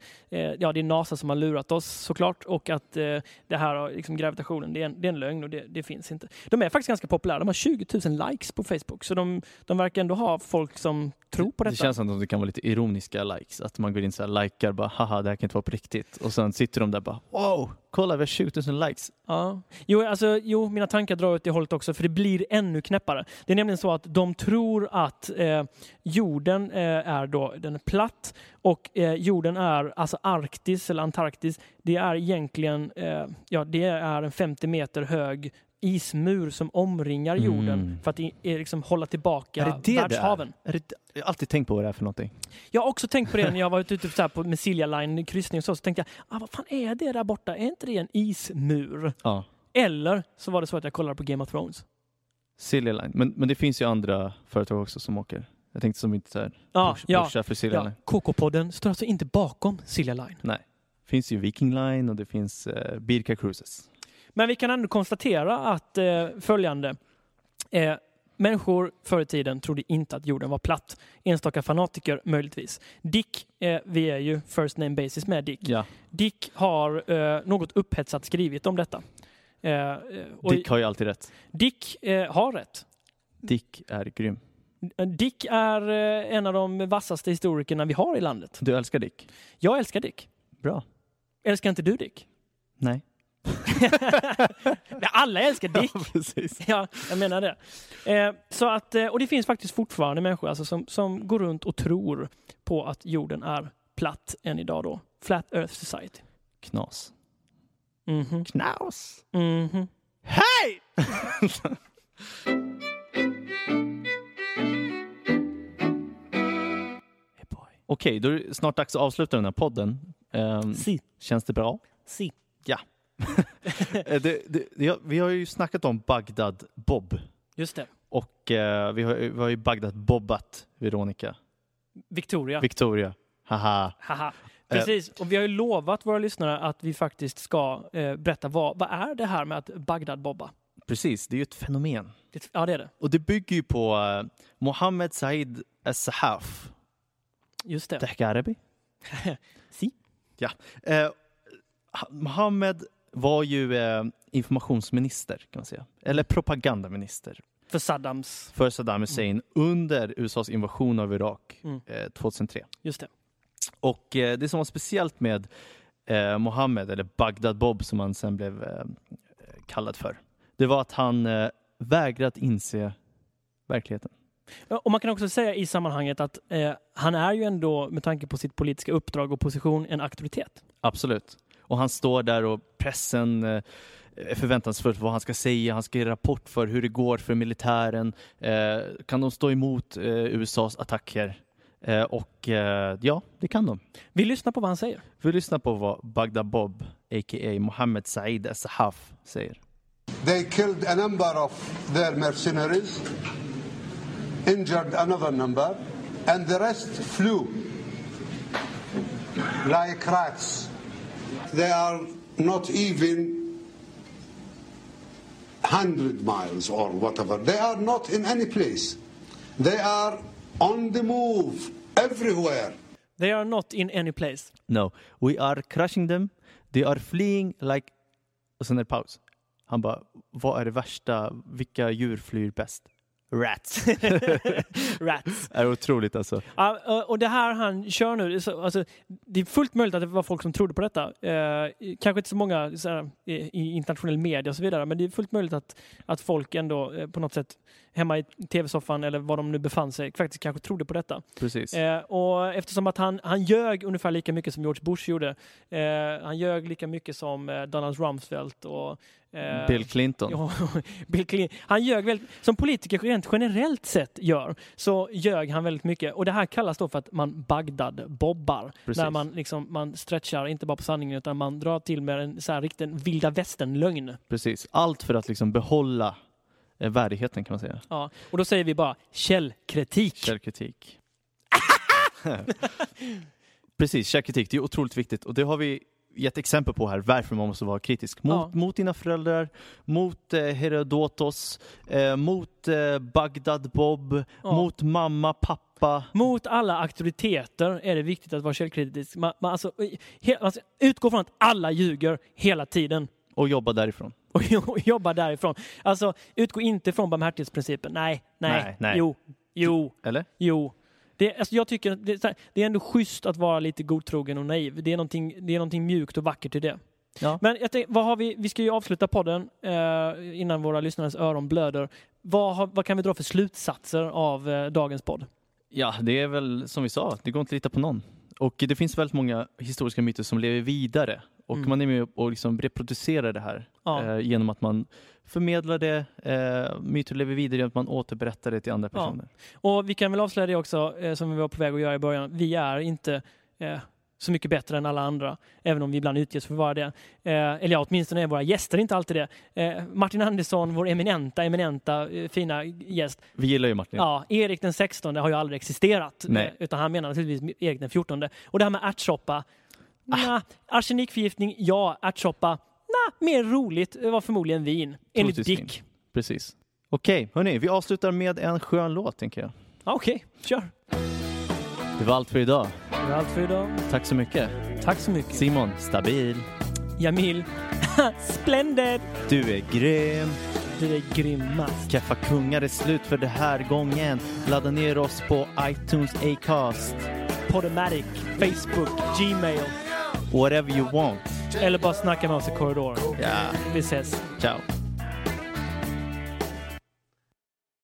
Speaker 2: ja, det är NASA som har lurat oss såklart och att eh, det här har liksom gravitationen, det är en, det är en lögn och det, det finns inte. De är faktiskt ganska populära, de har 20 000 likes på Facebook så de, de verkar ändå ha folk som tror på
Speaker 1: Det
Speaker 2: detta.
Speaker 1: känns som att det kan vara lite ironiska likes. Att man går in så här, likar bara, haha, det här kan inte vara på riktigt. Och sen sitter de där bara, wow, kolla vi har 20 000 likes.
Speaker 2: Ja. Jo, alltså, jo, mina tankar drar åt det hållet också, för det blir ännu knäppare. Det är nämligen så att de tror att eh, jorden eh, är då, den är platt och eh, jorden är, alltså Arktis eller Antarktis, det är egentligen, eh, ja, det är en 50 meter hög ismur som omringar jorden
Speaker 1: Mm.
Speaker 2: för att i, i, liksom hålla tillbaka
Speaker 1: Är det det det är?
Speaker 2: världshaven.
Speaker 1: Är det, jag har alltid tänkt på vad det är för någonting.
Speaker 2: Jag har också tänkt på det när jag var ute typ, så här, på, med Silja Line kryssning och så, så tänkte jag, ah, vad fan är det där borta? Är inte det en ismur?
Speaker 1: Ja,
Speaker 2: Eller så var det så att jag kollade på Game of Thrones.
Speaker 1: Silja Line. Men, men det finns ju andra företag också som åker. Jag tänkte som inte så här,
Speaker 2: Ja,
Speaker 1: push,
Speaker 2: ja,
Speaker 1: pusha för Silja
Speaker 2: ja.
Speaker 1: Line.
Speaker 2: KK-podden står alltså inte bakom Silja Line.
Speaker 1: Det finns ju Viking Line och det finns eh, Birka Cruises.
Speaker 2: Men vi kan ändå konstatera att eh, följande. Eh, människor förr i tiden trodde inte att jorden var platt. Enstaka fanatiker möjligtvis. Dick, eh, vi är ju first name basis med Dick.
Speaker 1: Ja.
Speaker 2: Dick har eh, något upphetsat skrivit om detta. Eh, eh, och
Speaker 1: Dick har ju alltid rätt.
Speaker 2: Dick eh, har rätt.
Speaker 1: Dick är grym.
Speaker 2: Dick är eh, en av de vassaste historikerna vi har i landet.
Speaker 1: Du älskar Dick?
Speaker 2: Jag älskar Dick.
Speaker 1: Bra.
Speaker 2: Älskar inte du Dick?
Speaker 1: Nej.
Speaker 2: Men Alla älskar Dick.
Speaker 1: precis.
Speaker 2: Ja, jag menar det. Eh, så att, eh, och det finns faktiskt fortfarande människor alltså, som, som går runt och tror på att jorden är platt än idag då. Flat Earth Society.
Speaker 1: Knas.
Speaker 2: Mhm,
Speaker 1: Knas.
Speaker 2: mhm.
Speaker 1: Hej!
Speaker 2: Hey boy.
Speaker 1: Okej, då är det snart dags att avsluta den här podden. Ehm,
Speaker 2: Si,
Speaker 1: känns det bra?
Speaker 2: si.
Speaker 1: Eh, det, det, ja, vi har ju snackat om Bagdad Bob
Speaker 2: Just det.
Speaker 1: och eh, vi, har, vi har ju Bagdad Bobbat Veronica.
Speaker 2: Victoria.
Speaker 1: Victoria. Haha.
Speaker 2: Haha. Precis, och vi har ju lovat våra lyssnare att vi faktiskt ska eh, berätta vad, vad är det här med att Bagdad-bobba?
Speaker 1: Precis, det är ju ett fenomen.
Speaker 2: Det- Ja, det är det.
Speaker 1: Och det bygger ju på eh, Mohammed Said As-Sahaf.
Speaker 2: Just det.
Speaker 1: Tack arabi.
Speaker 2: Si.
Speaker 1: Ja. Eh, ha- Mohammed var ju eh, informationsminister kan man säga. Eller propagandaminister
Speaker 2: för Saddams.
Speaker 1: för Saddam Hussein under USAs invasion av Irak
Speaker 2: Mm.
Speaker 1: eh, 2003.
Speaker 2: Just det.
Speaker 1: Och eh, det som var speciellt med eh, Mohammed, eller Bagdad Bob som han sen blev eh, kallad för, det var att han eh, vägrade att inse verkligheten.
Speaker 2: Ja, Och man kan också säga i sammanhanget att eh, han är ju ändå, med tanke på sitt politiska uppdrag och position, en auktoritet.
Speaker 1: Absolut. Och han står där och pressen eh, är förväntansfull för vad han ska säga. Han ska ge rapport för hur det går för militären. Eh, kan de stå emot eh, USAs attacker? Eh, och eh, ja, det kan de.
Speaker 2: Vi lyssnar på vad han säger.
Speaker 1: Vi lyssnar på vad Bagdad Bob, a.k.a. Mohammed Said As-Sahaf, säger.
Speaker 5: They killed a number of their mercenaries, injured another number, and the rest flew like rats. They are not even 100 miles or whatever. They are not in any place. They are on the move everywhere.
Speaker 2: They are not in any place.
Speaker 1: No, we are crushing them. They are fleeing like... Och sen är det paus. Han bara, vad är det värsta? Vilka djur flyr bäst? Rats.
Speaker 2: Rats.
Speaker 1: är otroligt alltså.
Speaker 2: Ja, ö, och det här han kör nu, så- alltså, det är fullt möjligt att det var folk som trodde på detta. Eh, kanske inte så många så här, i i internationell media och så vidare, men det är fullt möjligt att, att folk ändå eh, på något sätt hemma i tv-soffan eller var de nu befann sig faktiskt kanske trodde på detta.
Speaker 1: Precis.
Speaker 2: Eh, och eftersom att han, han ljög ungefär lika mycket som George Bush gjorde. Eh, han ljög lika mycket som eh, Donald Rumsfeld och eh,
Speaker 1: Bill Clinton.
Speaker 2: Ja, Bill Clinton. Han ljög väldigt, som politiker rent generellt sett gör, så ljög han väldigt mycket. Och det här kallas då för att man Bagdad-bobbar.
Speaker 1: Precis.
Speaker 2: När man, liksom, man stretchar, inte bara på sanningen, utan man drar till med en så här riktig vilda västern-lögn.
Speaker 1: Precis. Allt för att liksom behålla eh, värdigheten kan man säga.
Speaker 2: Ja. Och då säger vi bara källkritik.
Speaker 1: Källkritik. Precis, källkritik. Det är otroligt viktigt och det har vi gett exempel på här varför man måste vara kritisk. Mot,
Speaker 2: Ja.
Speaker 1: mot dina föräldrar, mot eh, Herodotos, eh, mot eh, Bagdad Bob,
Speaker 2: Ja.
Speaker 1: mot mamma, pappa.
Speaker 2: Mot alla auktoriteter är det viktigt att vara källkritisk. Man, man, alltså, he, alltså, utgå från att alla ljuger hela tiden.
Speaker 1: Och jobba därifrån.
Speaker 2: och jo- jobba därifrån. Alltså, utgå inte från barmhärtighetsprincipen. Nej, nej,
Speaker 1: Nej, nej.
Speaker 2: jo, jo,
Speaker 1: Eller?
Speaker 2: jo. Det, alltså jag tycker att det, är så här- det är ändå schysst att vara lite godtrogen och naiv. Det är någonting, det är någonting mjukt och vackert i det.
Speaker 1: Ja.
Speaker 2: Men jag tänk, vad har vi, vi ska ju avsluta podden eh, innan våra lyssnares öron blöder. Vad, har, vad kan vi dra för slutsatser av eh, dagens podd?
Speaker 1: Ja, det är väl som vi sa, det går inte att lita på någon. Och det finns väldigt många historiska myter som lever vidare och
Speaker 2: Mm.
Speaker 1: man är med och liksom reproducerar det här
Speaker 2: Ja.
Speaker 1: eh, genom att man förmedlar det, eh, myter lever vidare genom att man återberättar det till andra
Speaker 2: Ja.
Speaker 1: personer.
Speaker 2: Och vi kan väl avslöja det också, eh, som vi var på väg att göra i början. Vi är inte eh, så mycket bättre än alla andra, även om vi ibland utges för att vara det. Eh, eller ja, åtminstone är våra gäster inte alltid det. Eh, Martin Andersson, vår eminenta, eminenta, eh, fina gäst.
Speaker 1: Vi gillar ju Martin.
Speaker 2: Ja, Erik den 16 har ju aldrig existerat,
Speaker 1: Typ. Nej.
Speaker 2: eh, utan han menar naturligtvis Erik den 14. Och det här med ärtsoppa,
Speaker 1: Ah.
Speaker 2: nja, arsenikförgiftning, ja, ärtsoppa, nja, mer roligt eh, var förmodligen vin, enligt
Speaker 1: Troligtvis
Speaker 2: Dick.
Speaker 1: Precis. Okej, hörni, vi avslutar med en skön låt tänker jag.
Speaker 2: Ja, Okej, kör.
Speaker 1: Det var allt för idag.
Speaker 2: Det var allt för idag.
Speaker 1: Tack så mycket.
Speaker 2: Tack så mycket.
Speaker 1: Simon, stabil.
Speaker 2: Jamil. Splendid!
Speaker 1: Du är grym.
Speaker 2: Du är grymmast.
Speaker 1: Kaffa kungar är slut för det här gången. Ladda ner oss på iTunes, Acast,
Speaker 2: Podomatic, Facebook, Gmail
Speaker 1: whatever you want.
Speaker 2: eller bara snacka med oss i korridoren.
Speaker 1: Ja,
Speaker 2: Vi ses.
Speaker 1: ciao.